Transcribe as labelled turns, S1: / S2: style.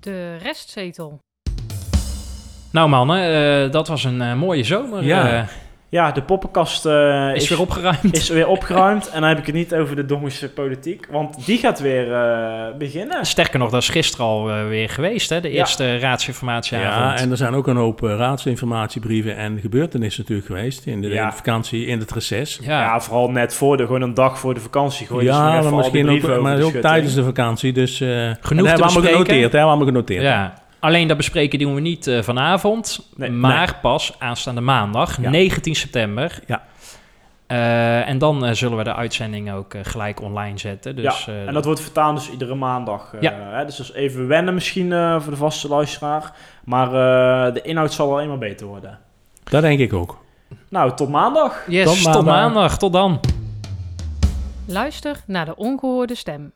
S1: de restzetel.
S2: Nou mannen, eh, dat was een eh, mooie zomer.
S3: Ja.
S2: Eh,
S3: Ja, de poppenkast eh,
S2: is, weer opgeruimd.
S3: is weer opgeruimd. en dan heb ik het niet over de dommische politiek. Want die gaat weer eh, beginnen.
S2: Sterker nog, dat is gisteren al eh, weer geweest, hè? De
S3: Ja.
S2: eerste raadsinformatieavond.
S4: Ja, en er zijn ook een hoop eh, raadsinformatiebrieven en gebeurtenissen natuurlijk geweest. In de, in
S3: Ja.
S4: de vakantie, in het reces.
S2: ja.
S3: Ja. vooral net voor de, gewoon een dag voor de vakantie. Gooi je dus nog
S4: ja,
S3: even
S4: maar
S3: al die
S4: misschien
S3: brieven
S4: ook,
S3: over
S4: maar
S3: de
S4: ook
S3: schutting.
S4: tijdens de vakantie. Dus eh, en dat
S2: te
S4: hebben we allemaal
S2: bespreken.
S4: genoteerd. hè, hebben we allemaal genoteerd.
S2: Ja. Alleen dat bespreken doen we niet eh, vanavond,
S3: Nee,
S2: maar pas aanstaande maandag,
S4: Ja.
S2: 19 september.
S4: Ja.
S2: Eh, en dan eh, zullen we de uitzending ook eh, gelijk online zetten. Dus,
S3: ja,
S2: eh,
S3: en dat wordt vertaald dus iedere maandag. eh,
S2: Ja.
S3: hè, dus dat is even wennen misschien eh, voor de vaste luisteraar. Maar eh, de inhoud zal alleen maar beter worden.
S4: Dat denk ik ook.
S3: Nou, tot maandag.
S2: yes,
S4: tot
S2: tot
S4: maandag.
S2: maandag. Tot dan.
S1: Luister naar de ongehoorde stem.